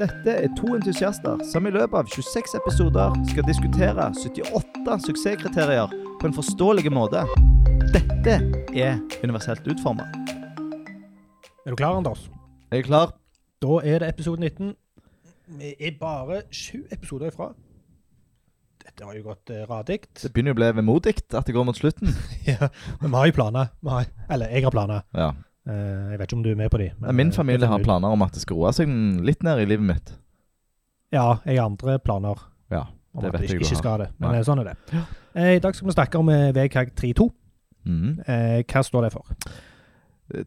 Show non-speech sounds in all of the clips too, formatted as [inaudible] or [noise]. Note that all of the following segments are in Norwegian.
Dette er to entusiaster som i løpet av 26 episoder skal diskutere 78 suksesskriterier på en forståelig måte. Dette er universelt utforma. Er du klar, Anders? Er du klar? Da er det episode 19. Vi er bare sju episoder ifra. Dette har jo gått eh, radikt. Det begynner jo å bli vemodig at det går mot slutten. [laughs] Ja, men vi har jo planer. Vi har, eller, jeg har planer. Ja. Eh, jeg vet ikke om du er med på de. men, Min eh, familie det har finner vi ut. planer om at det skal roe seg litt ned i livet mitt. Ja, jeg har andre planer Ja, om det at vet vi jeg ikke, du ikke har. skal det. Men Nei. eh, sånn er det. Eh, I dag skal vi snakke om eh, VKG 3.2. Mhm. Eh, hva står det for?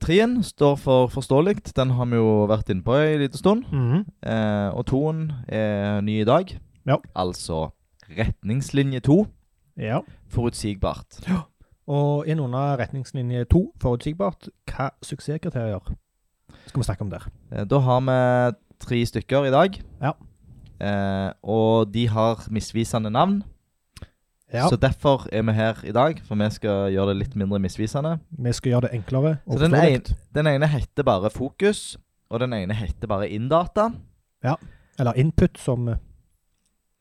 Trien står for forståelig. Den har vi jo vært inne på en liten stund. Mhm. Eh, og toen er ny i dag. Ja. Altså retningslinje to. Ja. Forutsigbart. Og innunder retningslinje 2, forutsigbart, hva suksesskriterier skal vi snakke om der? Eh, Da har vi tre stykker i dag. Ja. Eh, og de har misvisende navn, Ja, så derfor er vi her i dag. For vi skal gjøre det litt mindre misvisende. Vi skal gjøre det enklere og Så den forståelig. Den ene heter bare Fokus, og den ene heter bare Inndata. Eller input, som eh,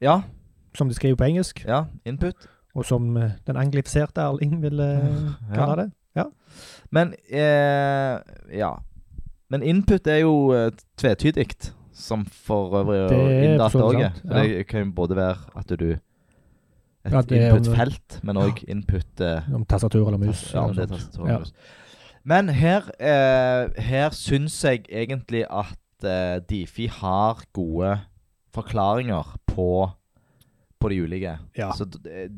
Ja, som de skriver på engelsk, ja, input. og som eh, den anglifiserte Erling ville Mm. Ja. kalle Eh, det. Men eh, Ja. Men input er jo eh, tvetydig, som for øvrig Det er inndata absolutt òg er. sant, Så Det kan jo både være at du Et Ja, det er om- input-felt, men òg input eh, Om tastatur eller mus. Ja, eller men det sånt. er tastaturmus. Men her, eh, her syns jeg egentlig at eh, Difi har gode forklaringer på, på de ulike. Ja. Så d- eh,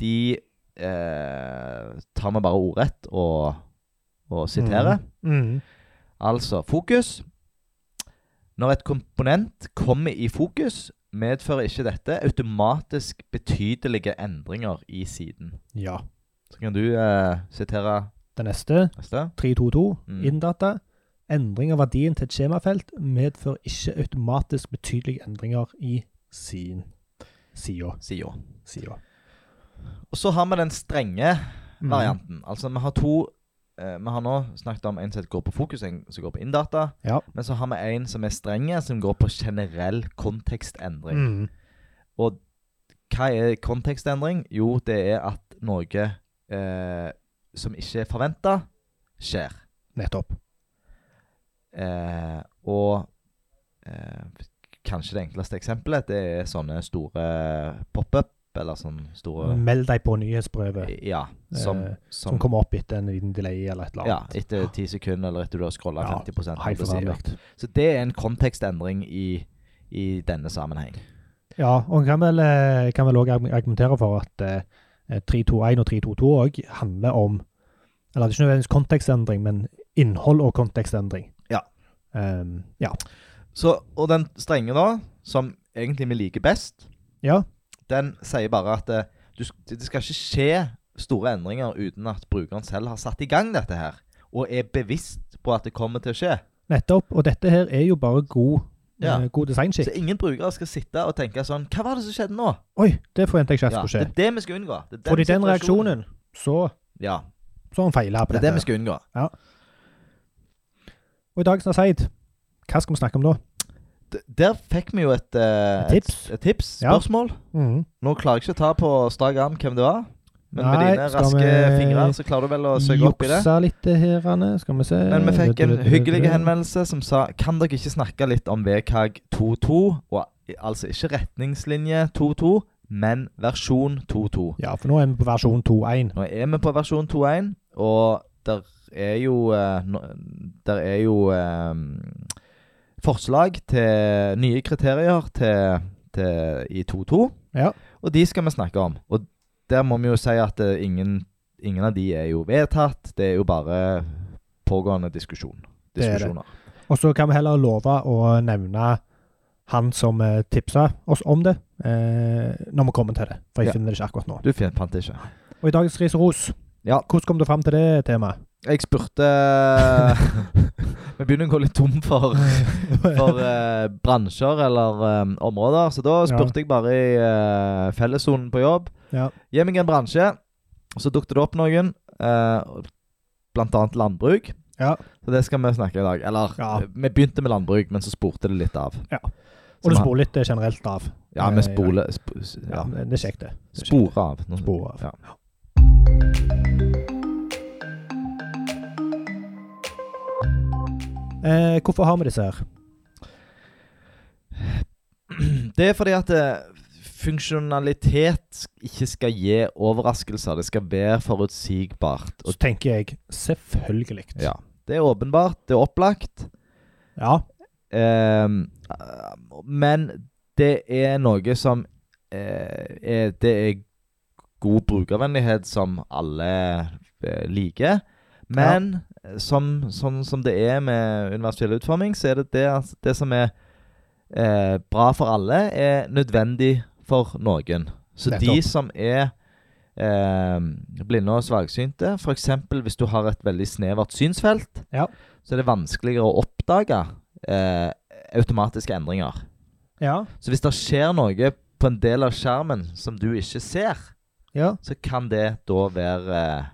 de eh, tar vi bare ordrett og, og siterer. Mm. Altså fokus. Når et komponent kommer i fokus, medfører ikke dette automatisk betydelige endringer i siden. Ja. Så kan du eh, sitere Det neste, neste. 322, Mm. inndata. Endring av verdien til et skjemafelt medfører ikke automatisk betydelige endringer i sin sida. sida. sida. Og så har vi den strenge Mm. varianten. Altså vi har to eh, Vi har nå snakket om en som går på fokus, en som går på inndata. Ja. Men så har vi en som er strenge, som går på generell kontekstendring. Mm. Hva er kontekstendring? Jo, det er at noe eh, som ikke er forventa, skjer. Nettopp. Eh, og eh, kanskje det enkleste eksempelet, det er sånne store pop-up, eller sånne store Meld deg på nyhetsprøvet Ja. Som, Mm. Eh, som som, kommer opp etter en liten delay eller et eller sånn. Ja, annet. etter ti sekunder, eller etter du har scrolla Ja, 50 holdt jeg Helt på å si. forferdelig. Så det er en kontekstendring i, i denne sammenheng. Ja, og en kan vel, eh, kan vel også argu- argumentere for at eh, 321 og 322 òg handler om Eller det er ikke nødvendigvis kontekstendring, men innhold og kontekstendring. Ja. Ehm, ja. Så, og den strenge, da, som egentlig vi liker best, ja. den sier bare at eh, du, sk- det skal ikke skje store endringer uten at brukeren selv har satt i gang dette her, og er bevisst på at det kommer til å skje. Nettopp. Og dette her er jo bare god, Ja. eh, god designskikk. Så ingen brukere skal sitte og tenke sånn Hva var det som skjedde nå? Oi, det forventer jeg ikke at Ja, det skulle skje. er det vi skal unngå. Det er For i den situasjonen- reaksjonen så Ja. så har han feila på Det er dette. det vi skal unngå. Og i dagens Aseid, hva skal vi snakke om da? D der fikk vi jo et, eh, Et tips. Et, et tips Ja. spørsmål. Mhm. Nå klarer jeg ikke å ta på strak arm hvem det var, men Nei, med dine skal raske vi fingre så klarer du vel å søke opp i det. Juksa litt her, Anne. Skal vi se Men vi fikk en Du, du, du, du, hyggelig du. henvendelse som sa Kan dere ikke snakke litt om VKG 2.2? Og i- Altså ikke retningslinje 2.2, men versjon 2.2. Ja, for nå er vi på versjon 2.1. Nå er vi på versjon 2.1, og der er jo eh, nå- Der er jo eh, forslag til nye kriterier til, til, i 2.2. Ja. Og de skal vi snakke om. Og der må vi jo si at eh, ingen, ingen av de er jo vedtatt. Det er jo bare pågående diskusjon. Det er det. Diskusjoner. Og så kan vi heller love å nevne han som eh, tipsa oss om det, eh, når vi kommer til det. For Ja. jeg finner det ikke akkurat nå. Du fin- fant det ikke. Og i dagens ris og ros, Ja. hvordan kom du fram til det temaet? Jeg spurte [laughs] Vi begynner å gå litt tom for, for eh, bransjer eller eh, områder, så da spurte jeg bare i eh, fellessonen på jobb. Ja. Gi meg en bransje. Og så dukket det opp noen, eh, blant annet landbruk. Ja. Så det skal vi snakke i dag. Eller Ja. Vi begynte med landbruk, men så spurte det litt av. Ja. Så Og du vi- spoler litt eh, generelt av. Ja, Eh, vi spoler sp Ja, ja. men Det er kjekt, det. det er kjekt. Spore av. Nå- Spore av. Ja. [clears throat] Eh, hvorfor har vi disse her? Det er fordi at eh, funksjonalitet ikke skal gi overraskelser. Det skal være forutsigbart. Så tenker jeg selvfølgelig. Og, ja. Det er åpenbart, det er opplagt. ja. Ehm, eh, men det er noe som eh, er, Det er god brukervennlighet som alle eh, liker. Men eh, som, sånn som det er med universell utforming, så er det det, at det som er eh, bra for alle, er nødvendig for noen. Så de Nettopp. som er eh, blinde og svaksynte, f.eks. hvis du har et veldig snevert synsfelt, Ja. så er det vanskeligere å oppdage eh, automatiske endringer. Ja. Så hvis det skjer noe på en del av skjermen som du ikke ser, Ja. så kan det da være eh,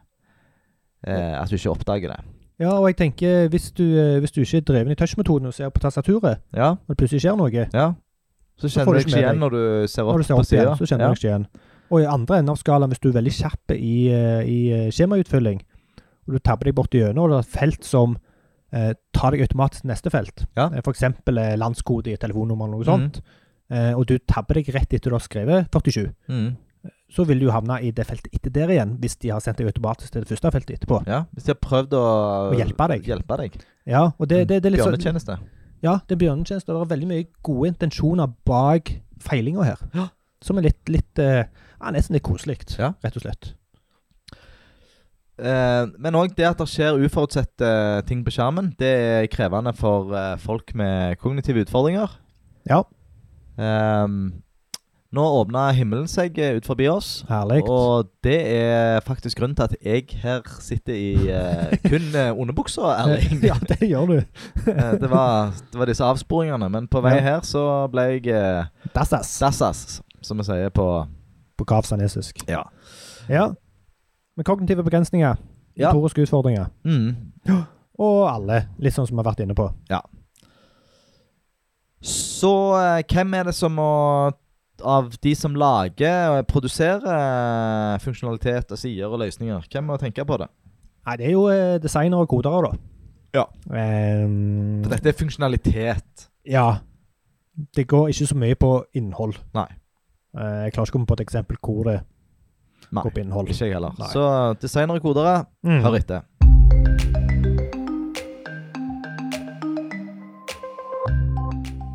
eh, at du ikke oppdager det. ja, og jeg tenker hvis du, eh, hvis du ikke er dreven i touchmetoden og ser på tastaturet, Ja, og det plutselig skjer noe, ja. Så får kjenner du du ikke ikke med igjen deg. når du ser opp, når du ser på opp igjen, sida. så kjenner du Ja. deg ikke igjen. Og i andre enden av skalaen, hvis du er veldig kjapp i, eh, i eh, skjemautfylling, og du tabber deg borti gjennom, og det er et felt som eh, tar deg automatisk til neste felt, Ja. Mhm. Eh, for eksempel eh, landskode i et telefonnummer eller noe sånt, eh, og du tabber deg rett etter du har skrevet 47, Mm. så vil du jo havne i det feltet etter der igjen, hvis de har sendt deg automatisk til det første feltet etterpå. mm. ja. Hvis de har prøvd å Å hjelpe deg. Hjelpe deg. Ja, og det, det, det er litt sånn Mm. Bjørnetjeneste. Ja, det er bjørnetjeneste. og Det er veldig mye gode intensjoner bak feilinga her. Ja. Som er litt, litt eh, ja, Nesten litt koselig, Ja. rett og slett. Eh, men òg det at det skjer uforutsette ting på skjermen, det er krevende for eh, folk med kognitive utfordringer. Ja, Ehm, nå åpna himmelen seg eh, ut forbi oss. herlig. Og det er faktisk grunnen til at jeg her sitter i eh, kun eh, underbuksa, [laughs] Erling. ja, det gjør du. Eh, det, var, det var disse avsporingene. Men på vei Ja. her så ble jeg eh, Dassas. sassas, som vi sier på På kavsanesisk. Ja. Ja. Med kognitive begrensninger, Ja. motoriske utfordringer, Mm. og alle. Litt sånn som vi har vært inne på. Så eh, hvem er det som må Av de som lager og produserer eh, funksjonalitet og sider og løsninger, hvem må tenke på det? Nei, det er jo eh, designere og kodere, da. Ja. Ehm, For dette er funksjonalitet. Ja. Det går ikke så mye på innhold. Nei. Eh, jeg klarer ikke å komme på et eksempel hvor det Nei, går på innhold. Ikke jeg heller. Nei. Så designere og kodere, Mm. hør etter.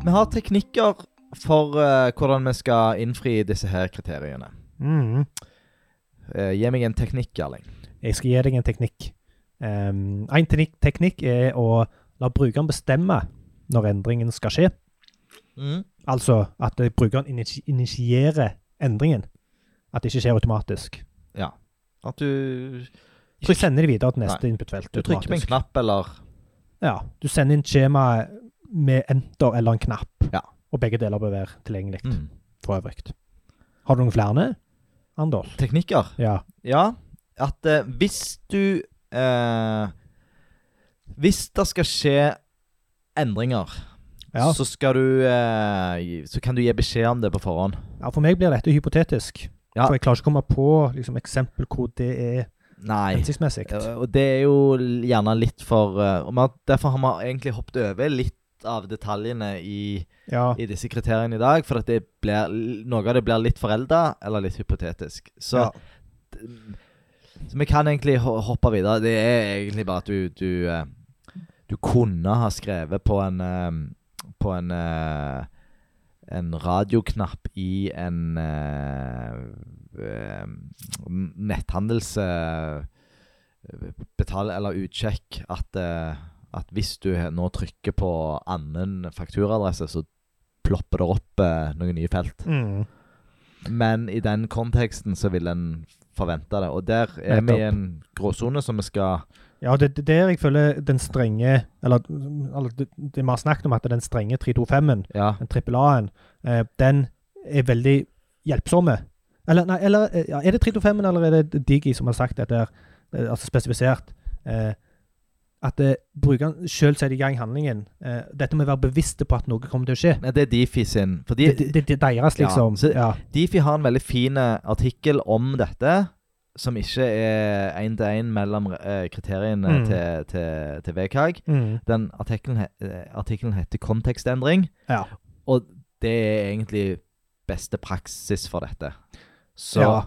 Vi har teknikker for eh, hvordan vi skal innfri disse her kriteriene. Mm. Eh, gi meg en teknikk, Erling. Jeg skal gi deg en teknikk. Ehm, en teknikk, teknikk er å la brukeren bestemme når endringen skal skje. Altså at eh, brukeren initi- initierer endringen. At det ikke skjer automatisk. At du, Ikke sende det videre til neste inputfelt. du trykker på en automatisk. knapp, eller Ja, du sender inn skjemaet med enter eller en knapp. Ja. Og begge deler bør være tilgjengelig mm. for øvrig. Har du noen flere, Anders? Teknikker. Ja. Ja, at eh, hvis du eh, Hvis det skal skje endringer, Ja. så skal du eh, gi- Så kan du gi beskjed om det på forhånd. ja. For meg blir dette hypotetisk. Ja. For jeg klarer ikke å komme på liksom, eksempel hvor det er Nei. hensiktsmessig. Eh, Og det er jo l- gjerne litt for eh, og vi har- Derfor har vi egentlig hoppet over litt av detaljene i, Ja. i disse kriteriene i dag. For at det blir, noe av det blir litt forelda, eller litt hypotetisk. Så ja. Så vi kan egentlig ho- hoppe videre. Det er egentlig bare at du Du, eh, du kunne ha skrevet på en eh, På en eh, En radioknapp i en eh, eh, netthandels eh, betal eller utsjekk at, eh, at hvis du he- nå trykker på annen fakturaadresse, så plopper det opp eh, noen nye felt. Mm. Men i den konteksten så vil en forvente det. Og der er vi i Nettopp. en gråsone som vi skal Ja, det det er der jeg føler den strenge Eller, eller det, det vi har snakket om, at den strenge 325-en, Ja. den trippel A-en, eh, den er veldig hjelpsomme. Eller, nei, eller eh, ja, er det 325-en, eller er det Digi som har sagt dette her, eh, altså spesifisert? Eh, at eh, brukeren sjøl setter i gang handlingen. Eh, dette med å være bevisste på at noe kommer til å skje. Nei, det er Difi sin. Fordi Det, det, det er deres, Ja, liksom. så- Ja. Difi har en veldig fin eh, artikkel om dette, som ikke er én til én mellom eh, kriteriene Mm. til, til, til VKG. Mm. Den artikkelen, he- eh, artikkelen heter 'Kontekstendring', Ja. og det er egentlig beste praksis for dette. Så, ja.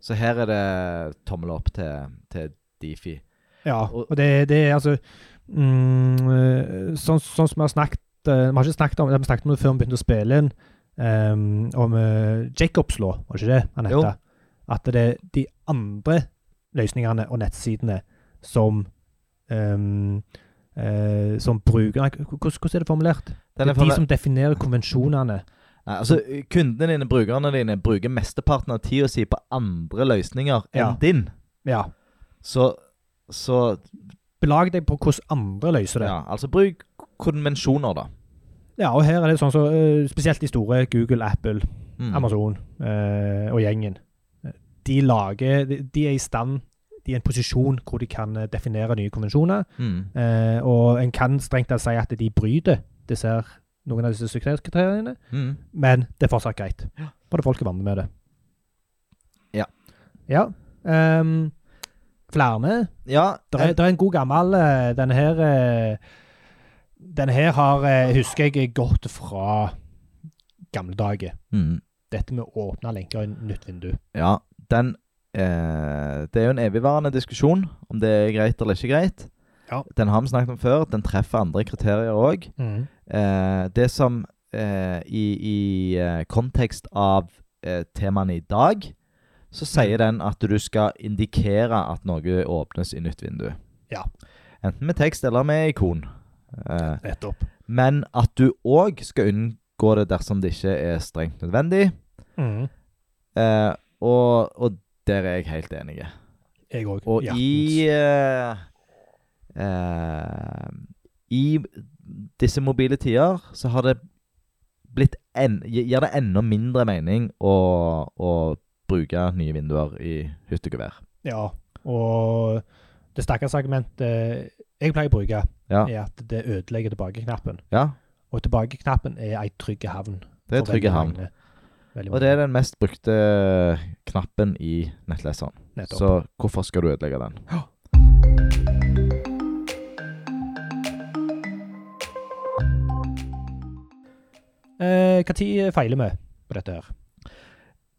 så her er det tommel opp til, til Difi. Ja, Og- og det, det er altså mm, øh, Sånn sånn som vi har snakket øh, Vi har ikke snakket om det, vi snakket om det før vi begynte å spille inn, ehm, om øh, Jacobs law, var det ikke det han Jo. het? At det er de andre løsningene og nettsidene som ehm, eh, som bruker Nei, h- Hvordan hvordan er det formulert? Den det er er de formel- som definerer konvensjonene. Nei, altså, kundene dine, brukerne dine, bruker mesteparten av tida si på andre løsninger Ja. enn din. Ja. Så, så Belag deg på hvordan andre løser det. Ja, altså bruk konvensjoner, da. Ja, og her er det sånn så, øh, spesielt de store, Google, Apple, Mm. Amazon eh, og gjengen. De lager de, de er i stand De er i en posisjon hvor de kan eh, definere nye konvensjoner. Mm. eh, og en kan strengt tatt si at de bryter disse, her- noen av disse sekretærkriteriene, Mm. men det er fortsatt greit. Ja. Både folk er vant med det. Ja. Ja. ehm, flere. Ja, Det er, en, der er en god gammel eh, Denne her eh, Denne her har, eh, husker jeg godt fra gamle dager mm. dette med å åpne lenker i et nytt vindu. ja den eh, Det er jo en evigvarende diskusjon om det er greit eller ikke greit. Ja. Den har vi snakket om før. Den treffer andre kriterier òg. Eh, det som eh, i, i eh, kontekst av eh, temaene i dag, så sier den at du skal indikere at noe åpnes i nytt vindu. Ja. Enten med tekst eller med ikon. Eh, Nettopp. Men at du òg skal unngå det dersom det ikke er strengt nødvendig. Eh, og, og der er jeg helt enig. Jeg òg. Og i eh, eh, I disse mobile tider så har det blitt en, Gir det enda mindre mening å, å bruke nye vinduer i hyttegevær. Ja. Og det stakkars argumentet eh, jeg pleier å bruke, Ja. er at det ødelegger tilbakeknappen. Ja, Og tilbakeknappen er ei trygg havn. det er for trygge veldig havn. mange. Veldig Og det er den mest brukte knappen i nettleseren. mange. Nettopp. Så hvorfor skal du ødelegge den? Eh, hva tid feiler vi på dette her?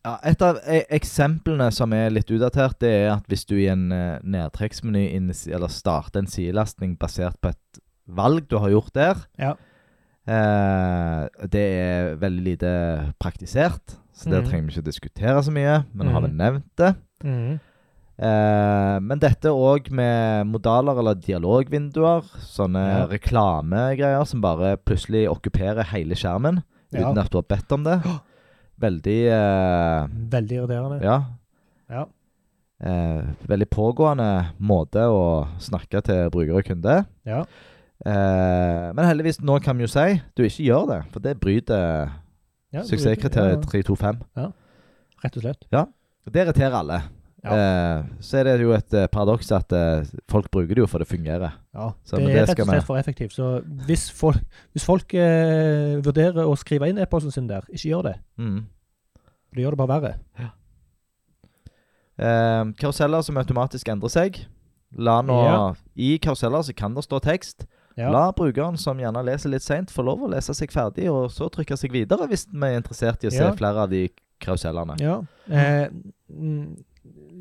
Ja, et av e eksemplene som er litt utdatert, det er at hvis du i en eh, nedtrekksmeny innis- eller starter en sidelasting basert på et valg du har gjort der, Ja. eh, det er veldig lite praktisert, så det Mhm. trenger vi ikke diskutere så mye, men har vi Mhm. nevnt det? Eh, men dette òg med modaler eller dialogvinduer, sånne Ja. reklamegreier som bare plutselig okkuperer hele skjermen Ja. uten at du har bedt om det. Veldig eh, Veldig irriterende. ja. Ja. Eh, veldig pågående måte å snakke til bruker og kunde. Ja. Eh, men heldigvis, nå kan vi jo si du ikke gjør det, for det bryter Ja, suksesskriteriet ja, 325. Rett og slett. Det irriterer alle. Eh, så er det jo et eh, paradoks at eh, folk bruker det jo for det fungerer. Ja, Så, det men er det rett skal og vi- slett for effektivt. Så hvis folk, hvis folk eh, vurderer å skrive inn e-posten sin der, ikke gjør det. Mm. For det gjør det bare verre. Eh, karuseller som automatisk endrer seg. La nå, Ja. I karuseller så kan det stå tekst. Ja. La brukeren som gjerne leser litt seint, få lov å lese seg ferdig, og så trykke seg videre hvis vi er interessert i å se Ja. flere av de karusellene. Ja. Eh, mm,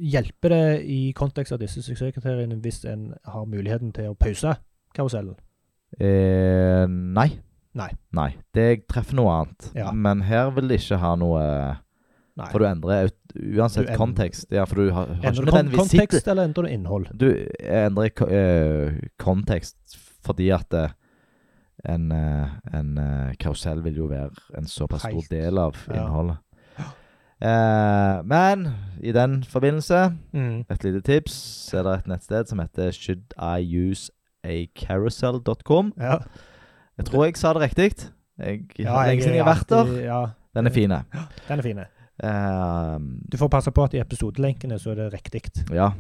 hjelper det i kontekst av disse suksesskriteriene hvis en har muligheten til å pause karusellen? Eh, nei. Nei. Nei. Det treffer noe annet. Ja. Men her vil det ikke ha noe Nei. For du endrer ut- uansett Du endrer- kontekst. Ja, for du har, har Endrer ikke du kon nødvendigvis sittet- kontekst, eller endrer du innhold? Du jeg endrer ko- eh, kontekst fordi at eh, en, eh, en eh, karusell vil jo være en såpass stor Helt. del av Ja. innholdet. Eh, men i den forbindelse, et lite tips, så er det et nettsted som heter shouldiuseacarousel.com. Ja. Jeg tror jeg sa det riktig. Jeg, Ja, lenge siden jeg har vært der. Ja, Den er fin. den er fine. Eh, Du får passe på at i episodelenkene så er det riktig, ja.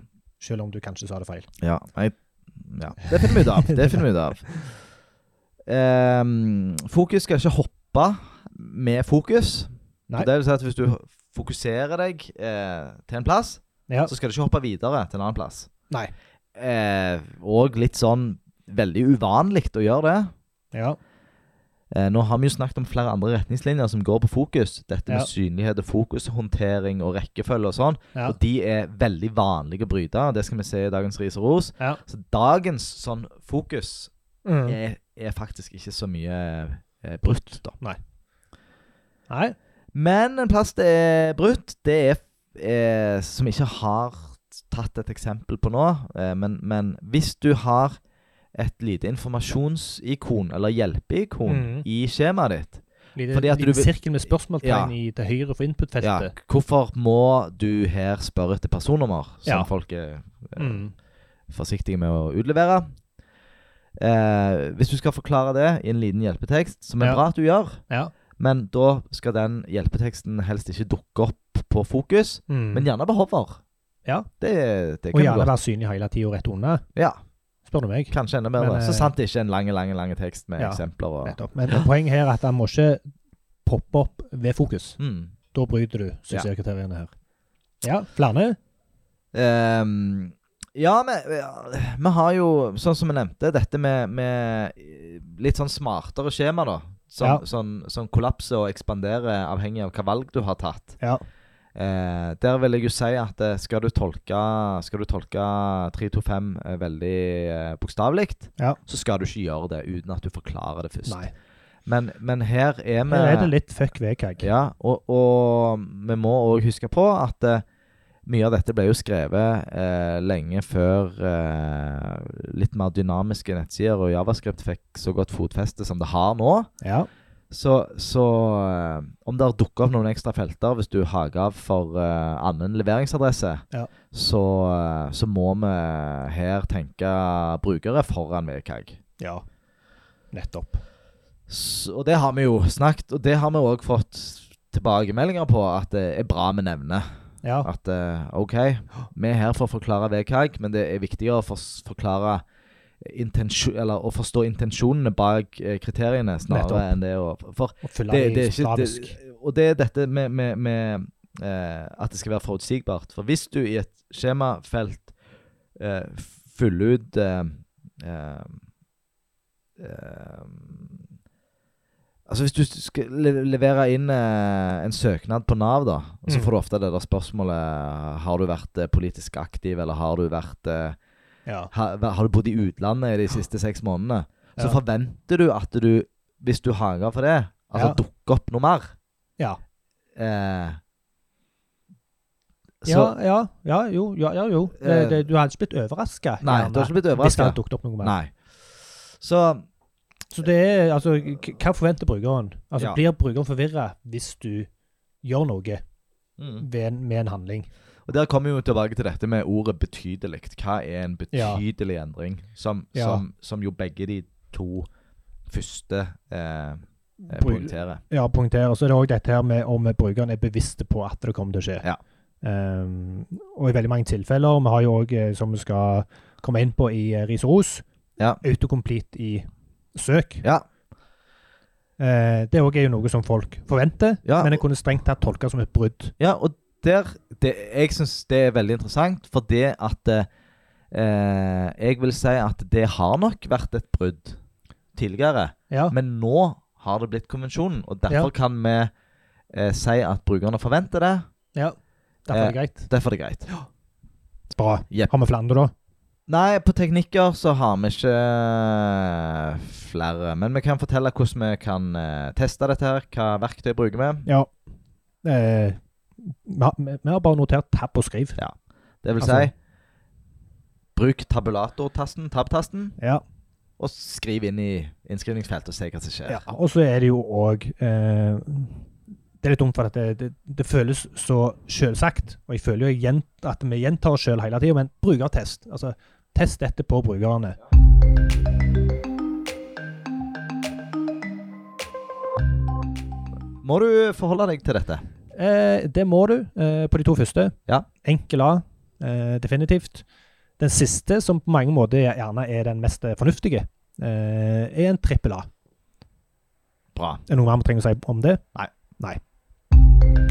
selv om du kanskje sa det feil. Ja, jeg Ja, det finner vi ut av. Det finner vi ut av. Ehm, fokus skal ikke hoppe med fokus. Nei. Så Det vil si at hvis du fokuserer deg eh, til en plass, Ja. så skal du ikke hoppe videre til en annen plass. Nei. Eh, og litt sånn veldig uvanlig å gjøre det. Ja. Eh, nå har vi jo snakket om flere andre retningslinjer som går på fokus. Dette med Ja. synlighet og fokushåndtering og rekkefølge og sånn. Ja. Og de er veldig vanlige å bryte. og Det skal vi se i dagens ris og ros. Ja. Så dagens sånn fokus Mm. er, er faktisk ikke så mye eh, brutt, da. Nei. Men en plass det er brutt, det er, eh, som ikke har tatt et eksempel på nå, eh, men, men hvis du har et lite informasjonsikon, eller hjelpeikon, Mhm. i skjemaet ditt Lite, Fordi at liten du vil- sirkel med spørsmålstegn Ja. i, til høyre for ja, input-feltet. Hvorfor må du her spørre etter personnummer, som Ja. folk er eh, Mm. forsiktige med å utlevere? Eh, hvis du skal forklare det i en liten hjelpetekst, som er Ja. bra at du gjør, Ja. men da skal den hjelpeteksten helst ikke dukke opp på fokus. Mm. Men gjerne behover. Ja. Det, det Og kan du gjerne godt. være synlig hele tida rett under, Ja, spør du meg. kanskje enda mer. Men, da. eh, Så sant det ikke er en lang, lang, lang tekst med Ja. eksempler og Nettopp. Men poenget her er at han må ikke poppe opp ved fokus. mm. Da bryter du suksesskriteriene her. Ja, flere? Ehm, Ja, vi, ja, vi har jo, sånn som vi nevnte, dette med, med eh, litt sånn smartere skjema, da. Som, Ja. som, som kollapser og ekspanderer avhengig av hva valg du har tatt. Ja. Eh, der vil jeg jo si at eh, skal du tolke, skal du tolke 325 eh, veldig eh, bokstavelig, Ja. så skal du ikke gjøre det uten at du forklarer det først. Nei. Men, men her er vi Her er det litt fuck vedkag. Ja, og, og vi må òg huske på at eh, mye av dette ble jo skrevet eh, lenge før eh, litt mer dynamiske nettsider og Javascript fikk så godt fotfeste som det har nå. Ja. Så, så eh, om det dukker opp noen ekstra felter hvis du hager av for eh, annen leveringsadresse, Ja. så, eh, så må vi her tenke brukere foran VKG. ja. Nettopp. S- Og det har vi jo snakket, og det har vi òg fått tilbakemeldinger på at det er bra vi nevner. Ja. At eh, OK, vi er her for å forklare VKG, men det er viktigere å fors- forklare intensjon, eller å forstå intensjonene bak eh, kriteriene, snarere Nettopp. enn det å For Og fylle det, det, det er i ikke slavisk. det, Og det er dette med, med, med eh, at det skal være forutsigbart. For hvis du i et skjemafelt eh, fyller ut eh, eh, eh, Altså Hvis du skal le- levere inn eh, en søknad på Nav, da, og så Mm. får du ofte det der spørsmålet Har du vært eh, politisk aktiv, eller har du vært eh, Ja. ha, Har du bodd i utlandet de siste seks månedene? Så Ja. forventer du at du, hvis du hanger for det, altså Ja. dukker opp noe mer. Ja. Eh, så Ja, ja, ja, jo, ja, ja, jo. Det, Eh, det, du hadde ikke blitt overraska Nei, du har ikke blitt hvis det overraska. hadde dukket opp noe mer. Nei. Så Så det er altså k- Hva forventer brukeren? Altså, Ja. Blir brukeren forvirra hvis du gjør noe mm. ved en, med en handling? Og der kommer vi jo tilbake til dette med ordet 'betydelig'. Hva er en betydelig endring? Som, Ja. som, som jo begge de to første eh, eh, Bru- poengterer. Ja, poengtere. Så er det òg dette her med om brukeren er bevisste på at det kommer til å skje. Ja. Ehm, og i veldig mange tilfeller, vi har jo òg, eh, som vi skal komme inn på i eh, Ris og ros, Ja. autocomplete i søk. Ja. Eh, det òg er jo noe som folk forventer, Ja. men en kunne strengt tatt tolke som et brudd. Ja, og der det, Jeg syns det er veldig interessant, for det at eh, Jeg vil si at det har nok vært et brudd tidligere, Ja. men nå har det blitt konvensjonen, og derfor Ja. kan vi eh, si at brukerne forventer det. ja. Derfor er det greit. Derfor er det greit. Bra. Jepp. Har vi flere andre, da? Nei, på teknikker så har vi ikke eh, flere, men vi kan fortelle hvordan vi kan eh, teste dette her, hva verktøy bruker vi. Ja. Eh, vi, har, vi har bare notert tab og skriv. Det vil Altså- si Bruk tabulatortasten, tab-tasten. Ja. og skriv inn i innskrivningsfeltet og se hva som skjer. ja. Og så er det jo òg eh, Det er litt dumt, for at det, det, det føles så selvsagt. Og jeg føler jo jeg gjent, at vi gjentar oss sjøl hele tida, men brukertest. Altså, test dette på brukerne. Må du forholde deg til dette? Eh, det må du eh, på de to første. Ja. Enkel A, eh, definitivt. Den siste, som på mange måter gjerne er den mest fornuftige, eh, er en trippel A. Bra. Er det noe mer vi trenger å si om det? Nei. Nei.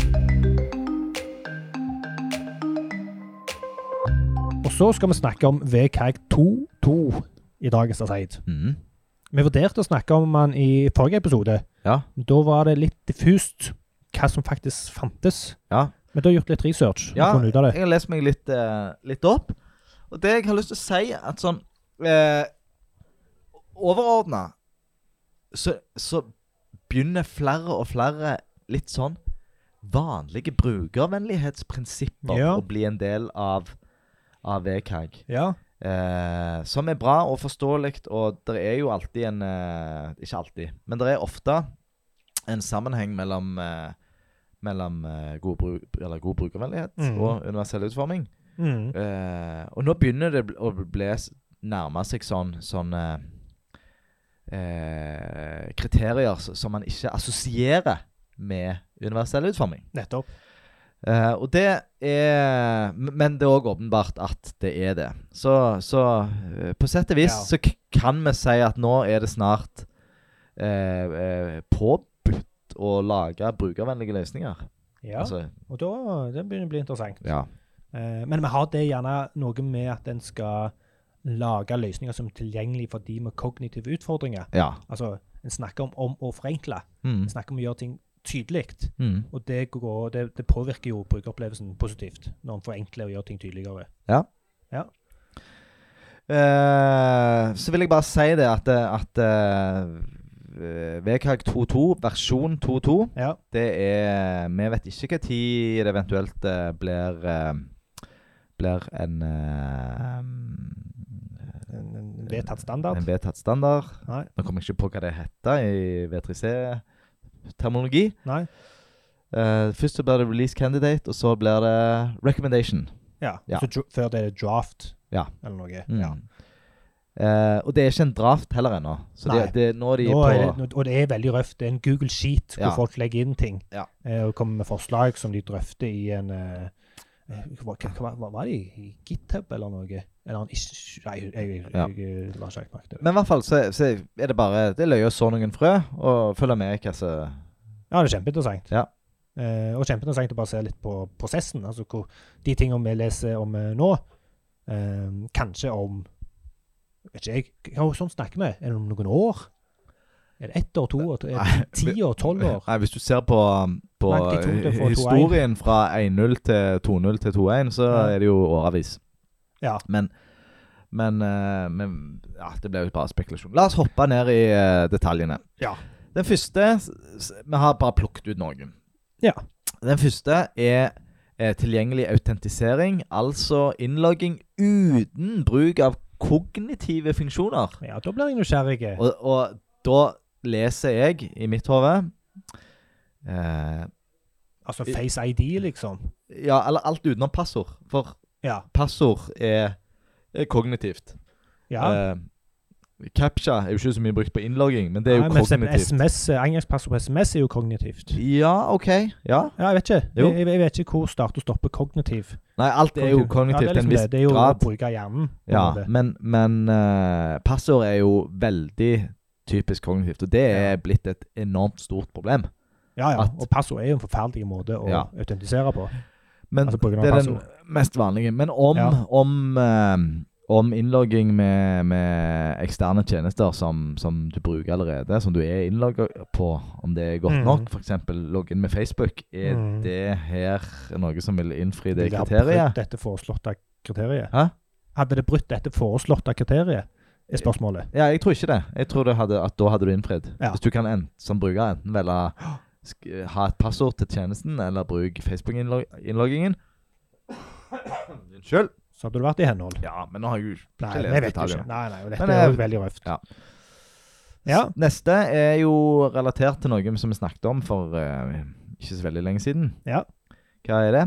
Og så skal vi snakke om VKG 2.2 i dagens Aseid. Mhm. Vi vurderte å snakke om den i forrige episode. Ja. Da var det litt diffust hva som faktisk fantes. Ja. Men du har gjort litt research og Ja, funnet ut av det. Jeg har lest meg litt, eh, litt opp. Og det jeg har lyst til å si, at sånn eh, Overordna så, så begynner flere og flere litt sånn vanlige brukervennlighetsprinsipper Ja. å bli en del av, av VKG. Ja. Eh, som er bra og forståelig, og det er jo alltid en eh, Ikke alltid, men det er ofte en sammenheng mellom, eh, mellom eh, god, bruk, eller god brukervennlighet Mhm. og universell utforming. Mm. Eh, og nå begynner det bl- å bli s- nærme seg sånn, sånn eh, eh, kriterier s- som man ikke assosierer med universell utforming. Nettopp. Eh, og det er m- Men det er òg åpenbart at det er det. Så, så eh, på sett og vis Ja. så k kan vi si at nå er det snart eh, eh, påbudt å lage brukervennlige løsninger. Ja, Altså, og da, det begynner å bli interessant. ja. Eh, men vi har det gjerne noe med at en skal lage løsninger som er tilgjengelige for de med kognitive utfordringer. ja. Altså, en snakker om, om å forenkle. Mm. En snakker om å gjøre ting tydelig. Mm. Og det, går, det, det påvirker jo brukeropplevelsen positivt, når en forenkler og gjør ting tydeligere. Eh, så vil jeg bare si det at, at eh, VKG 2.2, versjon 2.2 Ja. Det er Vi vet ikke hva tid det eventuelt eh, blir eh, Blir en eh, En, en vedtatt vedtatt standard. En vedtatt standard. Nei. Nå kommer jeg ikke på hva det heter i V3C-terminologi. Nei. Eh, først så blir det release candidate, og så blir det recommendation. Ja. Ja. Så dra- før det er draft Ja. eller noe. Mm. Ja. Eh, og det er ikke en draft heller ennå. Så det, Nei. det, nå er de Nå på er det, nå- og det er veldig røft. Det er en Google Sheet hvor Ja. folk legger inn ting Ja. eh, og kommer med forslag som de drøfter i en eh, eh, hva, hva, hva, hva var det? I GitHub eller noe? En annen ish- Nei, jeg, jeg, Ja. jeg, jeg la ikke helt merke til det. Men i hvert fall så, så er det bare Det er løye å så noen frø, og følge med hva som Ja, det er kjempeinteressant. Ja. Eh, og kjempeinteressant å bare se litt på prosessen. Altså hvor de tingene vi leser om eh, nå, eh, kanskje om Vet ikke jeg. Hva sånn snakker vi? Er det om noen år? Er det ett år, to år, er det ti år, tolv år? Nei, hvis du ser på, um, på Nei, de tok det fra historien fra 1-0 til 2-0 til 2-1, så Ja. er det jo årevis. Ja. Men, men, eh, men ja, det ble jo bare spekulasjon. La oss hoppe ned i eh, detaljene. Ja. Den første s- s- Vi har bare plukket ut noen. Ja. Den første er eh, tilgjengelig autentisering, altså innlogging uten bruk av kognitive funksjoner. Ja, da blir jeg nysgjerrig. Og, og da leser jeg i mitt hode eh, Altså Face ID, liksom. Ja, eller alt utenom passord. For Ja. passord er, er kognitivt. ja. Eh, Captcha er jo ikke så mye brukt på innlogging, men det er jo Nei, men kognitivt. SMS, eh, Engangspassord på SMS er jo kognitivt. Ja, OK. Ja. Ja, jeg vet ikke. Jo. Jeg, jeg vet ikke hvor start og stopper kognitiv. Nei, alt er jo kognitivt Ja, det er til en liksom viss det. Det er jo å grad. bruke hjernen. på en Ja, måte. men, men eh, passord er jo veldig typisk kognitivt, og det er blitt et enormt stort problem. ja, ja. at- Og passord er jo en forferdelig måte å Ja. autentisere på. Men Altså bruken av det er den passord. mest vanlige. Men om, Ja. om, eh, om innlogging med, med eksterne tjenester som, som du bruker allerede, som du er innlogga på, om det er godt Mhm. nok, f.eks. logge inn med Facebook, er Mhm. det her noe som vil innfri det Ville ha brutt kriteriet? Dette foreslåtte kriteriet. Hæ? Hadde det brutt dette foreslåtte kriteriet, er spørsmålet. Ja, jeg tror ikke det. Jeg tror det hadde, at da hadde du innfridd. Ja. Hvis du kan en, som bruker enten velge sk- ha et passord til tjenesten, eller bruke Facebook-innloggingen. [coughs] Unnskyld. Så hadde det vært i henhold. Ja, men nå har jeg jo ikke Nei, lest jeg vet detaljene. ikke. Nei, nei, og dette Men, er jo eh, veldig røft. ja. Ja. Neste er jo relatert til noe som vi snakket om for eh, ikke så veldig lenge siden. Ja. Hva er det?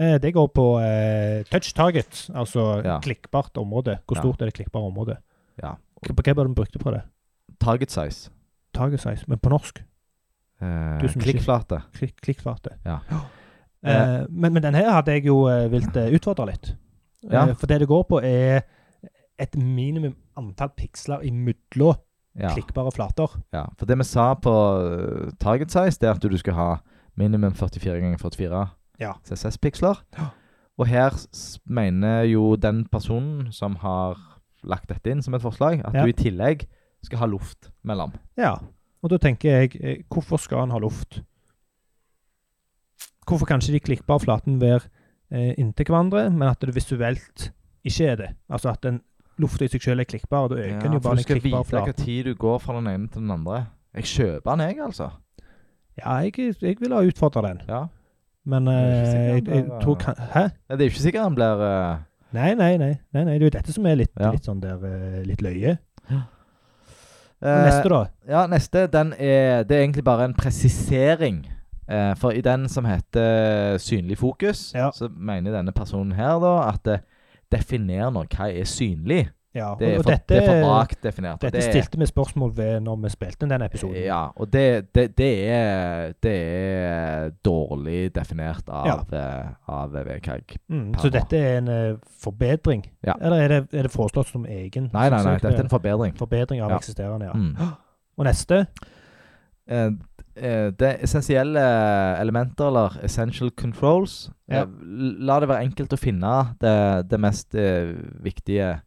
Eh, Det går på eh, touch target, altså Ja. klikkbart område. Hvor Ja. stort er det klikkbare området? Ja. Hva hva var det vi brukte på det? Target size. Target size, men på norsk. Eh, Du som ikke- klikkflate. Klikk, klikkfarte. Ja. Eh, men, men den her hadde jeg jo eh, vilt eh, utfordre litt. Ja. Eh, For det det går på, er et minimum antall piksler imellom Ja, klikkbare flater. ja. For det vi sa på eh, target size, det er at du skal ha minimum 44 ganger 44 Ja. CSS-piksler. Ja. Og her s- mener jo den personen som har lagt dette inn som et forslag, at Ja. du i tillegg skal ha luft mellom. Ja. Og da tenker jeg, eh, hvorfor skal han ha luft? Hvorfor kan ikke de klikkbare flatene være eh, inntil hverandre, men at det visuelt ikke er det? Altså at den lufta i seg selv er klikkbar, og da øker den for jo bare du den skal vite klikkbare hva flaten. tid du går fra den ene til den andre. Jeg kjøper den, jeg, altså. Ja, jeg, jeg ville ha utfordra den, Ja. men Jeg er eh, ikke sikker om jeg, det jeg var- tror kan, Hæ? Ja, Det er jo ikke sikkert han blir eh, Nei, nei, nei. nei, nei. Det er jo dette som er litt, Ja. litt sånn der eh, litt løye. eh, Neste, da. Ja, neste den er, Det er egentlig bare en presisering. Eh, for i den som heter synlig fokus, Ja. så mener denne personen her da at eh, Definer nå hva er synlig. Ja, Det er og for, dette, det er for vagt definert. og dette det er- stilte vi spørsmål ved når vi spilte inn den episoden. Ja, og det, det, det, er, det er dårlig definert av, eh, av VKG. Mm, så dette er en eh, forbedring? Ja. Eller er det, er det foreslått som egen? Nei, nei, nei, forsøk? dette er en forbedring. forbedring av Ja. eksisterende, ja. Mm. Og neste? Eh, eh, det er essensielle elementer, eller essential controls Ja. Eh, La det være enkelt å finne det, det mest eh, viktige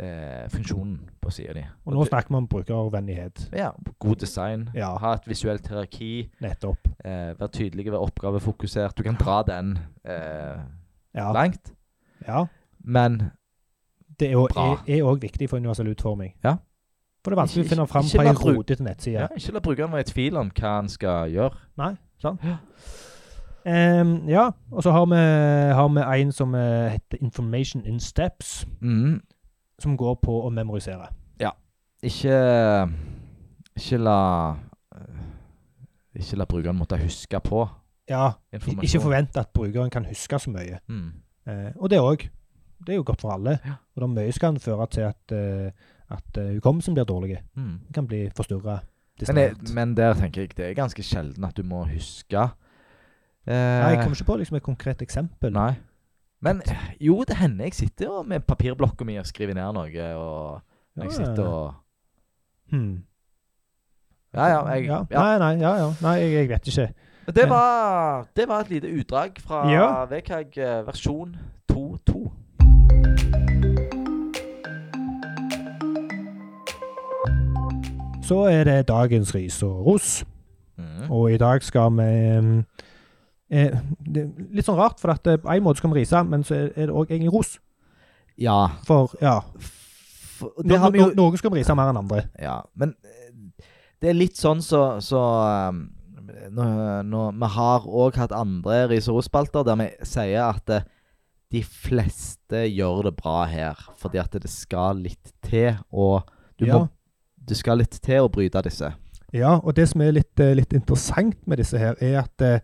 eh, funksjonen på sida di. Og nå snakker vi om brukervennlighet. Ja, god design. Ja. Ha et visuelt hierarki. Nettopp. Eh, Vær tydelig, vær oppgavefokusert. Du kan dra den eh, Ja. langt. ja. Men Det er jo- Bra. er- er òg viktig for universell utforming. Ja. For det er vanskelig å Ikke- finne fram ikke- på ikke en bare bruk- rotete nettside. ja, ikke la brukeren være i tvil om hva han skal gjøre. Nei, sant? Ehm, ja, og så har vi, har vi en som eh, heter Information in Steps, Mm. som går på å memorisere. Ikke Ikke la eh, Ikke la brukeren måtte huske på Ja, i- informasjon. ikke forvent at brukeren kan huske så mye. Mm. Eh, og det òg. Det er jo godt for alle. Ja. Og det er mye som kan føre til at, eh, at eh, hukommelsen blir dårlig. Mm. Den kan bli forstyrra. Men, det, men der tenker jeg det er ganske sjelden at du må huske. Eh, Nei, jeg kommer ikke på liksom, et konkret eksempel. Nei. Men eh, jo, det hender jeg sitter jo med papirblokka mi og skriver ned noe. Og Ja, jeg sitter og hmm. Ja, ja. Jeg, ja. Nei, nei, ja, ja. nei jeg, jeg vet ikke. Men Det, var, det var et lite utdrag fra Ja. VKG eh, versjon 2.2. Så er det dagens ris og ros. Mm. Og i dag skal vi ehm, eh, det er Litt sånn rart, for at eh, på en måte skal vi rise, men så er er det òg egentlig ros. Ja. For ja, F no, no, noen skal vi rise mer enn andre. Ja, men eh, det er litt sånn så, så um, nå, nå, Vi har òg hatt andre ris og ros-spalter der vi sier at eh, de fleste gjør det bra her, fordi at det skal litt til, og du Ja. må Du skal litt til å bryte disse. Ja, og det som er litt, eh, litt interessant med disse her, er at eh,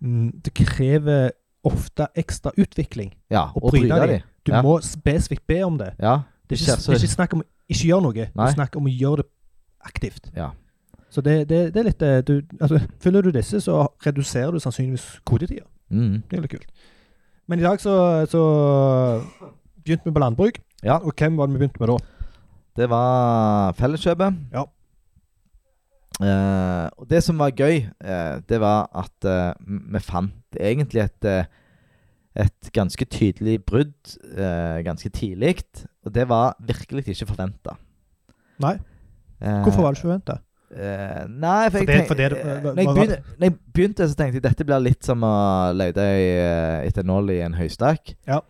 mm, det krever ofte ekstra utvikling. Ja, Og og bryte, bryte de. de. Du Ja. må spesifikt be om det. Ja. Det er Ikke ikke, så- det er ikke snakk om å ikke gjøre noe, det Nei. er snakk om å gjøre det aktivt. Ja. Så det, det, det er litt eh, du, altså, Følger du disse, så reduserer du sannsynligvis kodetida. Mm. Det er litt kult. Men i dag så, så begynte vi på landbruk. Ja. Og hvem var det vi begynte med da? Det var Felleskjøpet. Ja. Eh, og det som var gøy, eh, det var at eh, vi fant egentlig et eh, et ganske tydelig brudd eh, ganske tidlig. Og det var virkelig ikke Eh, forventa. Nei. Hvorfor var det ikke forventa? Eh, nei, for, For jeg det- tenk- for det- eh, hva- når, jeg hva- begynte, når jeg begynte, så tenkte jeg dette blir litt som å lete i, eh, etter nål i en høystakk. Ja.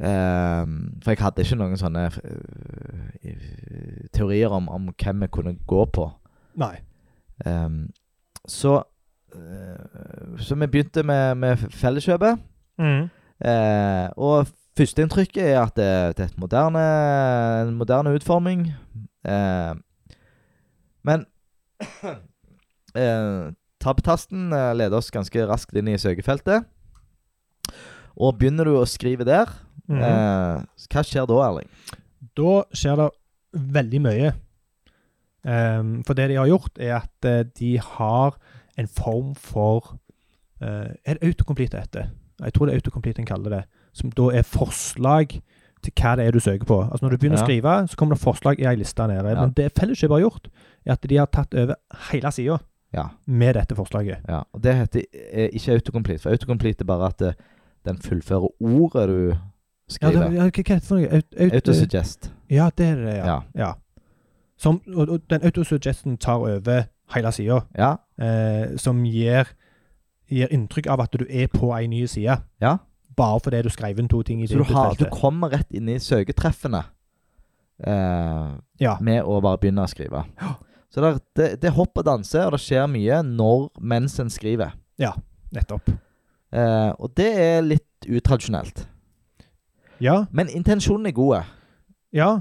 Eh, for jeg hadde ikke noen sånne eh, eh, teorier om, om hvem vi kunne gå på. Nei. Eh, så eh, Så vi begynte med, med Felleskjøpet. Eh, og førsteinntrykket er at det, det er et moderne, en moderne utforming. Eh, men [coughs] eh, tabbtasten eh, leder oss ganske raskt inn i søkefeltet. Og begynner du å skrive der, Mhm. eh, hva skjer da, Erling? Da skjer det veldig mye. Ehm, for det de har gjort, er at eh, de har en form for eh, Er det autocomplete det heter? Jeg tror det er autocomplete en kaller det. som da er forslag til hva det er du søker på. Altså Når du begynner Ja. å skrive, så kommer det forslag i ei liste nede. Ja. Men det Felleskjøp har gjort, er at de har tatt over hele sida Ja. med dette forslaget. ja. Og det heter eh, ikke autocomplete, for autocomplete er bare at eh, den fullfører ordet du Ja, skriver. det, ja, hva hva heter det for noe? Aut, aut, Autosuggest. ja, det er det, ja. Ja. ja. Som, og, og den autosuggesten tar over hele sida, Ja. eh, som gir, gir inntrykk av at du er på ei ny side. Ja. Bare fordi du skrev inn to ting i Så du, har, du feltet. kommer rett inn i søketreffene eh, Ja. med å bare begynne å skrive. Ja. Så det, er- det, det er hopp og danse, og det skjer mye når mens en skriver. Nettopp. Eh, og det er litt utradisjonelt. Ja. Men intensjonen er god. Ja.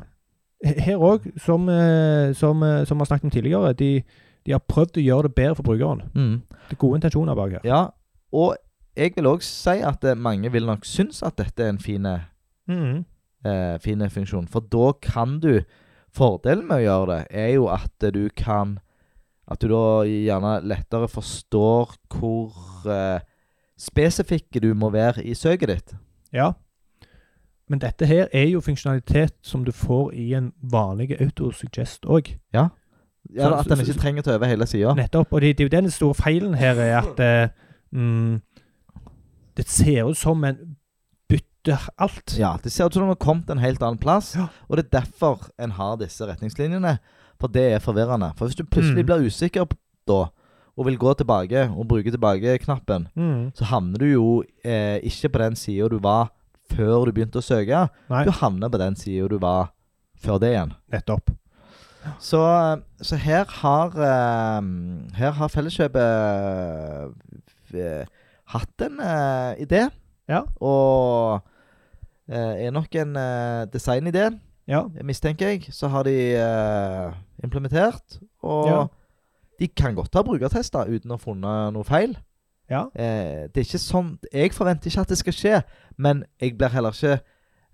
He- Her òg, som, eh, som, eh, som vi har snakket om tidligere, de, de har prøvd å gjøre det bedre for brukeren. Mm. Det er gode intensjoner bak her. Ja, og jeg vil òg si at eh, mange vil nok synes at dette er en fin Mhm. eh, fine funksjon. For da kan du Fordelen med å gjøre det er jo at du kan At du da gjerne lettere forstår hvor eh, spesifikke du må være i søket ditt. Ja. Men dette her er jo funksjonalitet som du får i en vanlig autosuggest òg. Ja, Sånn Så- At den så- ikke trenger å ta over hele sida. Nettopp. Og det, det er jo den store feilen her, er at eh, mm, det ser ut som en bytter alt. Ja, det ser ut som den har kommet en helt annen plass. Ja. Og det er derfor en har disse retningslinjene. For det er forvirrende. For hvis du plutselig Mm. blir usikker p- da, og vil gå tilbake og bruke tilbake-knappen, Mhm. så havner du jo eh, ikke på den sida du var før du begynte å søke. Nei. Du havner på den sida du var før det igjen. Nettopp. Så, så her har eh, Her har Felleskjøpet eh, hatt en eh, idé. Ja. Og eh, er nok en eh, designidé, Ja. mistenker jeg. Så har de eh, implementert. Og Ja. de kan godt ha brukertester uten å ha funnet noe feil. ja. Eh, det er ikke sånn Jeg forventer ikke at det skal skje, men jeg blir heller ikke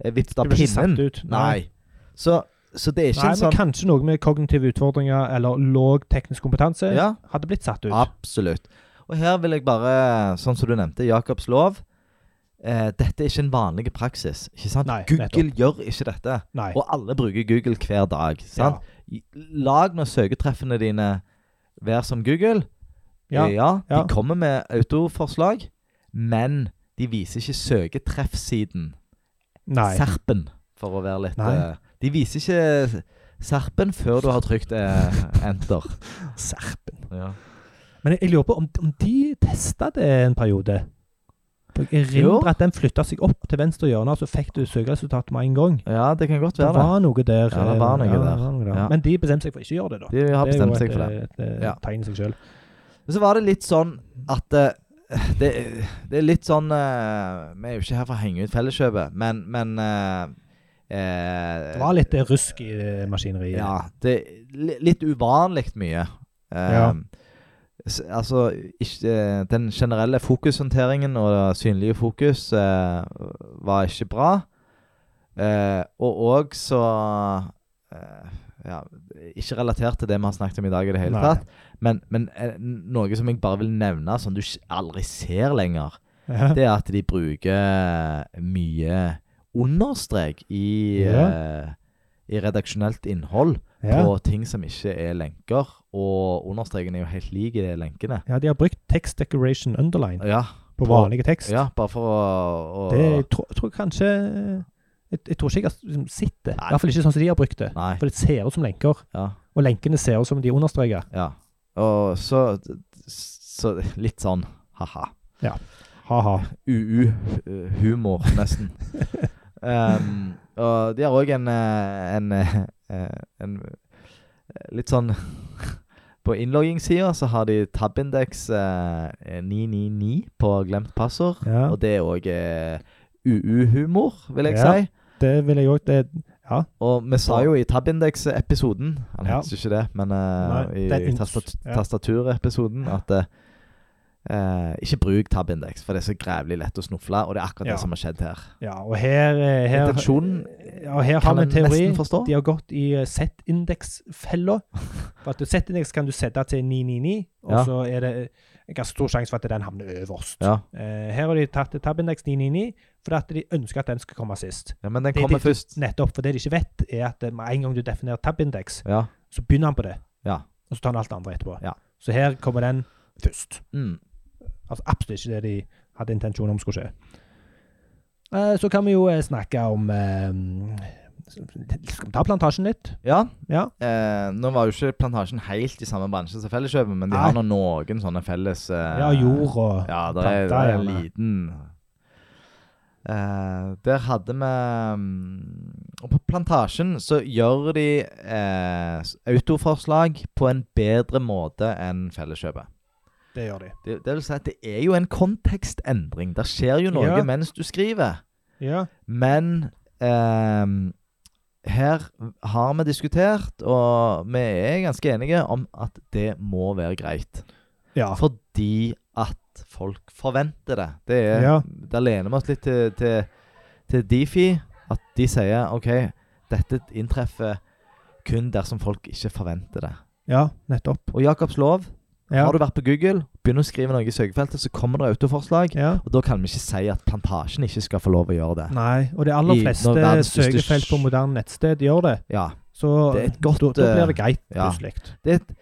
eh, vippet Du av blir ikke pinnen. satt ut. Nei. Så, så det er ikke Nei, en men sånn kanskje noe med kognitive utfordringer eller lav teknisk kompetanse Ja, hadde blitt satt ut. absolutt. Og her vil jeg bare, sånn som du nevnte, Jacobs lov. Eh, dette er ikke en vanlig praksis. ikke sant? Nei, Google nettopp. gjør ikke dette. Nei. Og alle bruker Google hver dag. sant? Lag nå søketreffene dine være som Google. Ja. Ja, Ja. de kommer med autoforslag, men de viser ikke søketreffsiden. Nei. Serpen, for å være litt Nei. eh, De viser ikke serpen før du har trykt eh, [laughs] enter. Serpen. Ja. Men jeg, jeg lurer på om, om de testa det en periode. For Jeg Jo. erindrer at den flytta seg opp til venstre hjørne, og så fikk du søkeresultat med en gang. det kan godt Det være det. var noe der. Ja, det var noe eh, der. var noe Ja. Men de bestemte seg for ikke å gjøre det, da. De har det er jo bestemt seg for det. et, eh, et, et Ja. Eh, tegn i seg sjøl. Men så var det litt sånn at eh, det, det er litt sånn eh, Vi er jo ikke her for å henge ut Felleskjøpet, men, men eh, eh, Det var litt eh, rusk i eh, maskineriet. Ja, det er litt uvanlig mye. Eh, Ja. s- Altså, ikke, eh, den generelle fokushåndteringen og synlige fokus eh, var ikke bra. Eh, og òg så eh, ja, Ikke relatert til det vi har snakket om i dag i det hele Nei. tatt. Men, men eh, noe som jeg bare vil nevne, som du ikke- aldri ser lenger, [laughs] Ja. det er at de bruker mye understrek i, eh, i redaksjonelt innhold Ja. på ting som ikke er lenker. Og understreken er jo helt lik i de lenkene. ja, de har brukt text decoration underline Ja, på på- vanlige tekst. ja bare for å, å Det jeg tror, jeg tror kanskje eh, jeg, jeg tror ikke jeg har liksom sett det. Nei. I hvert fall ikke sånn som de har brukt det. Nei. For det ser ut som lenker, Ja. og lenkene ser ut som de understreker. ja. Og så, så litt sånn ha-ha. Ha-ha. UU-humor, [laughs] nesten. Ehm, og de har òg en, eh, en, eh, en eh, Litt sånn På innloggingssida så har de tabindeks eh, 999 på glemt passord. Ja, Og det er òg eh, UU-humor, vil jeg Ja. si. det vil jeg òg Og vi sa jo i Tabindex-episoden Han Ja. heter ikke det, men eh, Nei, i den ins- tastat ja. tastaturepisoden at eh, Eh, ikke bruk tabindeks, for det er så grævlig lett å snufle, og det er akkurat Ja. det som har skjedd her. Ja, og her, eh, her Intensjonen Ja, og her har kan vi en en teori. nesten forstå. De har gått i eh, Z-indeksfella. For at du- Z-indeks kan du sette til 999, og Ja. så er det eh, en ganske stor sjanse for at den havner øverst. Ja, Eh, her har de tatt tabindeks 999 fordi at de ønsker at den skal komme sist. ja men den Det- kommer det- først. Nettopp, for det de ikke vet, er at eh, med en gang du definerer tabindeks, Ja. så begynner han på det, Ja. og så tar han alt det andre etterpå. Ja. Så her kommer den først. Mm. Altså absolutt ikke det de hadde intensjon om skulle skje. Eh, Så kan vi jo eh, snakke om eh, Skal vi ta plantasjen litt? ja. Ja. Eh, nå var jo ikke Plantasjen helt i samme bransje som Felleskjøpet, men de har Nei. nå noen sånne felles eh, Ja, jord og Ja, det er, det er en gjerne. liten Eh, Der hadde vi mm, Og på Plantasjen så gjør de eh, s- autoforslag på en bedre måte enn Felleskjøpet. Det gjør de. Det, det vil si at det er jo en kontekstendring. Det skjer jo noe Ja. mens du skriver. Ja. Men ehm, her har vi diskutert, og vi er ganske enige om at det må være greit. ja. Fordi at folk forventer det. det er, Ja. Der lener vi oss litt til, til, til Difi, at de sier OK, dette inntreffer kun dersom folk ikke forventer det. Ja, nettopp. Og Jacobs lov, Ja. har du vært på Google, begynner å skrive noe i søkefeltet, så kommer det autoforslag. ja. Og da kan vi ikke si at Plantasjen ikke skal få lov å gjøre det. Nei, og de aller I- når fleste verdens største søkefelt på moderne nettsted gjør det. Ja. Så Det er et godt, da, da blir eh, det greit, ja. plutselig. Det er et,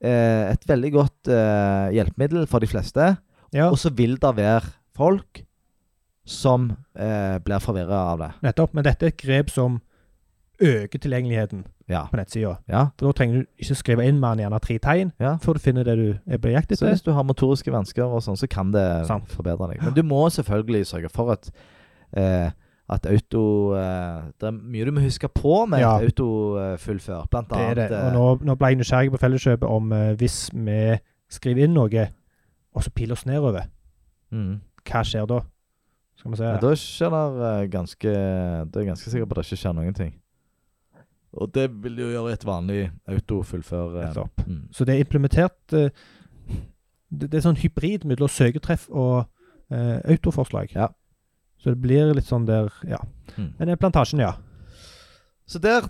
eh, et veldig godt eh, hjelpemiddel for de fleste. Ja, Og så vil det være folk som eh, blir forvirra av det. nettopp. Men dette er et grep som øker tilgjengeligheten Ja. på nettsida. ja. For da trenger du ikke skrive inn mer enn gjerne tre tegn Ja. før du finner det du er på jakt Så etter. hvis du har motoriske vansker, og sånn, så kan det Sant. forbedre deg. Men du må selvfølgelig sørge for at, eh, at auto eh, Det er mye du må huske på med Ja. et autofullfør. Blant Det er det. annet eh, Og nå, nå ble jeg nysgjerrig på Felleskjøpet om eh, hvis vi skriver inn noe, og så piler oss nedover, eh, mm. hva skjer da? Skal vi se. Ja, da skjer det eh, ganske Da er jeg ganske sikker på at det ikke skjer noen ting. Og det vil jo gjøre et vanlig autofullfør. eh, Nettopp. Mm. Så det er implementert eh, Det, det er sånn hybrid mellom søketreff og eh, autoforslag. Ja. Så det blir litt sånn der Ja. Mm. Men eh, plantasjen, ja. Så der,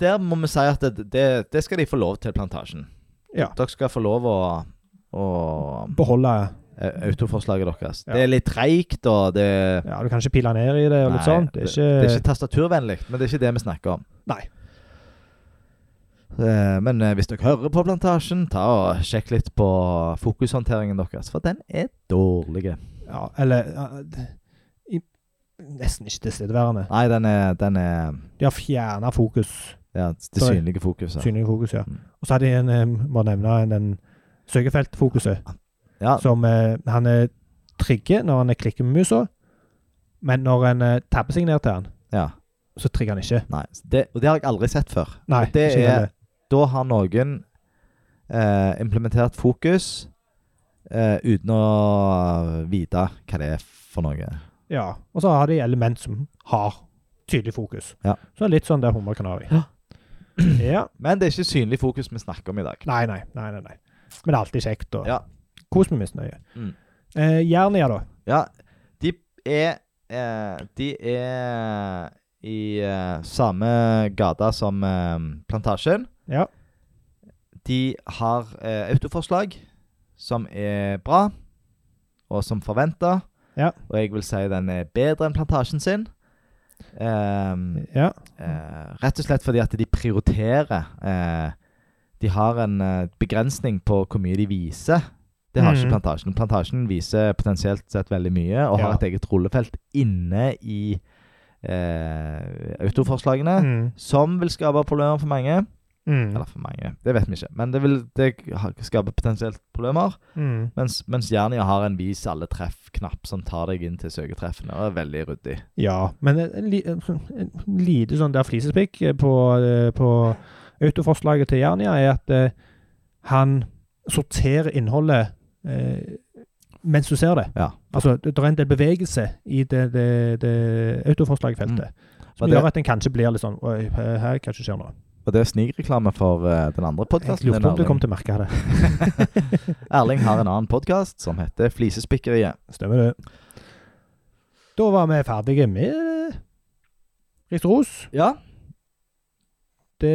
der må vi si at det, det, det skal de få lov til, Plantasjen. Ja. Dere skal få lov å, å Beholde eh, Autoforslaget deres. Ja. Det er litt treigt, og det Ja, du kan ikke pile ned i det og litt Nei, sånn. Det er ikke, det er ikke tastaturvennlig, men det er ikke det vi snakker om. Nei. Eh, Men eh, hvis dere hører på Plantasjen, ta og sjekk litt på fokushåndteringen deres, for den er dårlig. ja, Eller ja, det- i, Nesten ikke tilstedeværende. Nei, den er, den er De har fjerna fokus. ja, det Sorry. synlige fokuset. Synlig fokus, ja. Mm. Og så hadde jeg en, eh, må nevne en, den søkefeltfokuset, Ja, som eh, han eh, trigger når han klikker med musa, men når en eh, tabber seg ned til han, ja. så trigger han ikke. Nei. Det, og det har jeg aldri sett før. Nei, Og det ikke er, heller. da har noen eh, implementert fokus eh, uten å vite hva det er for noe. Ja. Og så har de element som har tydelig fokus. Ja. Så litt sånn der hummerkanari. Ja. [clears throat] ja. Men det er ikke synlig fokus vi snakker om i dag. Nei, nei, nei, nei, nei. Men det er alltid kjekt og Ja. kos med misnøye. Mm. Eh, Jernia, da. Ja, de er eh, De er i eh, samme gata som eh, Plantasjen. Ja. De har eh, autoforslag som er bra, og som forventa. Ja. Og jeg vil si den er bedre enn Plantasjen sin. Ehm, ja. eh, rett og slett fordi at de prioriterer eh, De har en eh, begrensning på hvor mye de viser. Det har Mhm. ikke Plantasjen. Plantasjen viser potensielt sett veldig mye, og Ja. har et eget rullefelt inne i eh, autoforslagene. Mm. Som vil skape problemer for mange. Mm. Eller for mange, det vet vi ikke. Men det vil det ha- skaper potensielt problemer. Mm. Mens, mens Jernia har en vis alle treff-knapp som tar deg inn til søketreffene. og er veldig ryddig. Ja, men en, li- en lite sånn der flisespikk på, eh, på autoforslaget til Jernia er at eh, han sorterer innholdet eh, mens du ser det. Ja. Altså, det, det er en del bevegelse i det, det, det autoforslagfeltet som Mm. Og det, gjør at en kanskje blir litt sånn Oi, her her kanskje skjer noe. og det er snikreklame for eh, den andre Jeg podkasten. lurte om du kom til å merke det. Erling har en annen podkast som heter Flisespikkeriet. Stemmer det. Da var vi ferdige med Riks Ros. Ja, Det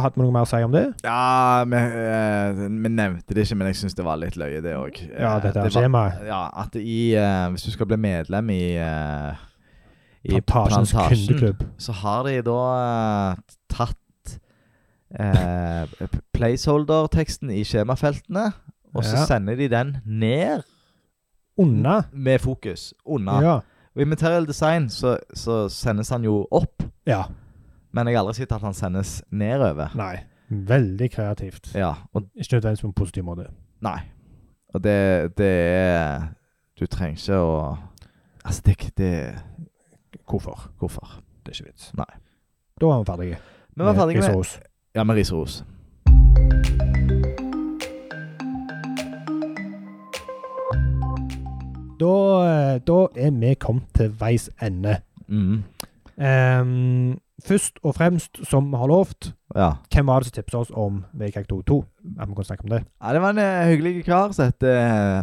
hadde vi noe mer å si om det? Ja, vi, eh, vi nevnte det ikke, men jeg syns det var litt løye, det òg. Ja, dette er var- skjemaet. Ja, at i eh, Hvis du skal bli medlem i eh, i Plantasjens kundeklubb. så har de da eh, tatt eh, p- placeholder-teksten i skjemafeltene, og så Ja. sender de den ned Unna. med fokus unna. Ja. Og I Material Design så, så sendes han jo opp, ja. men jeg har aldri sett at han sendes nedover. Nei. Veldig kreativt. Ja, og Ikke nødvendigvis på en positiv måte. Nei. Og det, det er Du trenger ikke å Altså, det, det Hvorfor? Hvorfor? Det er ikke vits. Nei. Da var vi ferdige. Vi Eh, var ferdige med Riseros. Ja, med ris og ros. Da, eh, da er vi kommet til veis ende. Mm. Ehm, først og fremst, som vi har lovt, Ja. hvem var det som tipsa oss om VK2 2? Ja, vi kan snakke om det. ja. Det var en eh, hyggelig kar som heter eh,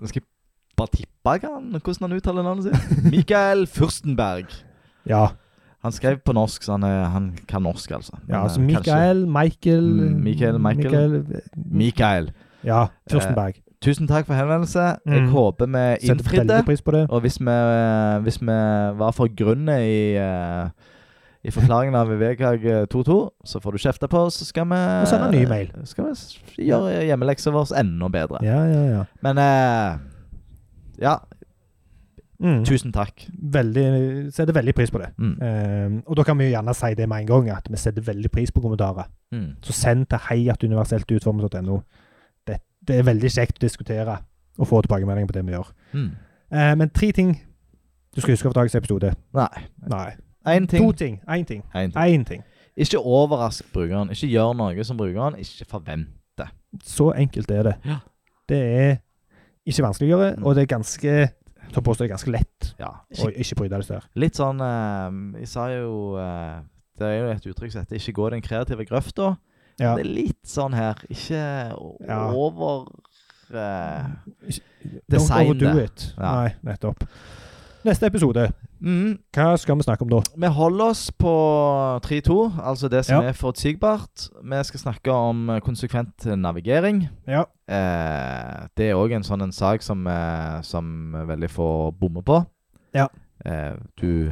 Nå skal jeg bare tippe hva han, hvordan han uttaler navnet sitt. [laughs] Mikael Furstenberg. Ja, Han skrev på norsk, så han, er- han kan norsk, altså. Men, ja altså eh, Mikael, Michael Mm, Michael, Michael. kanskje- Mikael. Ja, Fürstenberg. Tusen takk for henvendelse. Jeg Mm. håper vi Setter innfridde. veldig pris på det. Og hvis vi, hvis vi var for grunne i, eh, i forklaringen av Vegag 22, så får du kjefte på oss, så skal vi Eh, Og send en ny mail. Skal vi s- gjøre hjemmeleksa vår enda bedre. Ja, ja, ja. Men eh, ja, Mm. tusen takk. Veldig, setter veldig pris på det. Mm. Ehm, og da kan vi jo gjerne si det med en gang, at vi setter veldig pris på kommentarer. Mm. Så send til heiatuniverseltutformet.no. Det, det er veldig kjekt å diskutere og få tilbakemeldinger på det vi gjør. Mm. Eh, men tre ting du skal huske fra dagens episode. Nei. Nei. Én To ting. ting. Én ting. En ting. Én ting. Ikke overrask brukeren. Ikke gjør noe som brukeren ikke forventer. Så enkelt er det. Ja. Det er ikke vanskeligere, Mm. og det er ganske jeg påstår det er ganske lett Ja. å Ikke, ikke bry deg der. litt sånn eh, Jeg sa jo eh, Det er jo et uttrykk som heter 'ikke gå den kreative grøfta'. Ja. Det er litt sånn her. Ikke o- Ja. over eh, Don't design overdo det. it. Ja. Nei, nettopp. Neste episode. mm, Hva skal vi snakke om da? Vi holder oss på 3-2, altså det som Ja. er forutsigbart. Vi skal snakke om eh, konsekvent navigering. Ja. Eh, det er òg en sånn en sak som, eh, som veldig få bommer på. Ja. Eh, du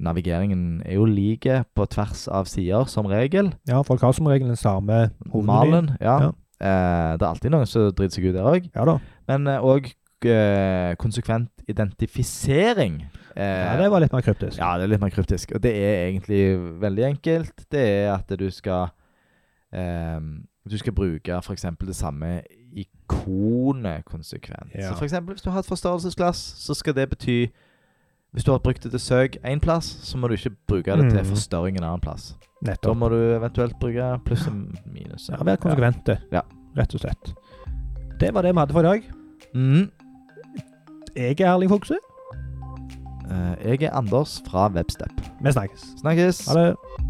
Navigeringen er jo like på tvers av sider, som regel. ja, folk har som regel den samme hovedmenyen. Malen. Ja. Eh, det er alltid noen som driter seg ut der òg. Ja da. Men òg eh, konsekvent identifisering. Eh, Ja, det var litt mer kryptisk. ja, det er litt mer kryptisk. Og det er egentlig veldig enkelt. Det er at du skal eh, Du skal bruke f.eks. det samme ikonet konsekvent. Ja. Så f.eks. hvis du har et forstørrelsesglass, så skal det bety hvis du har brukt det til søk én plass, så må du ikke bruke det til Mm. forstørring en annen plass. Da Nettopp. må du eventuelt bruke pluss og minus. Ja, Vær konsekvente, Ja. rett og slett. Det var det vi hadde for i dag. Mm. Jeg er Erling Fokse. Eh, jeg er Anders fra Webstep. Vi snakkes. Snakkes! Ha det.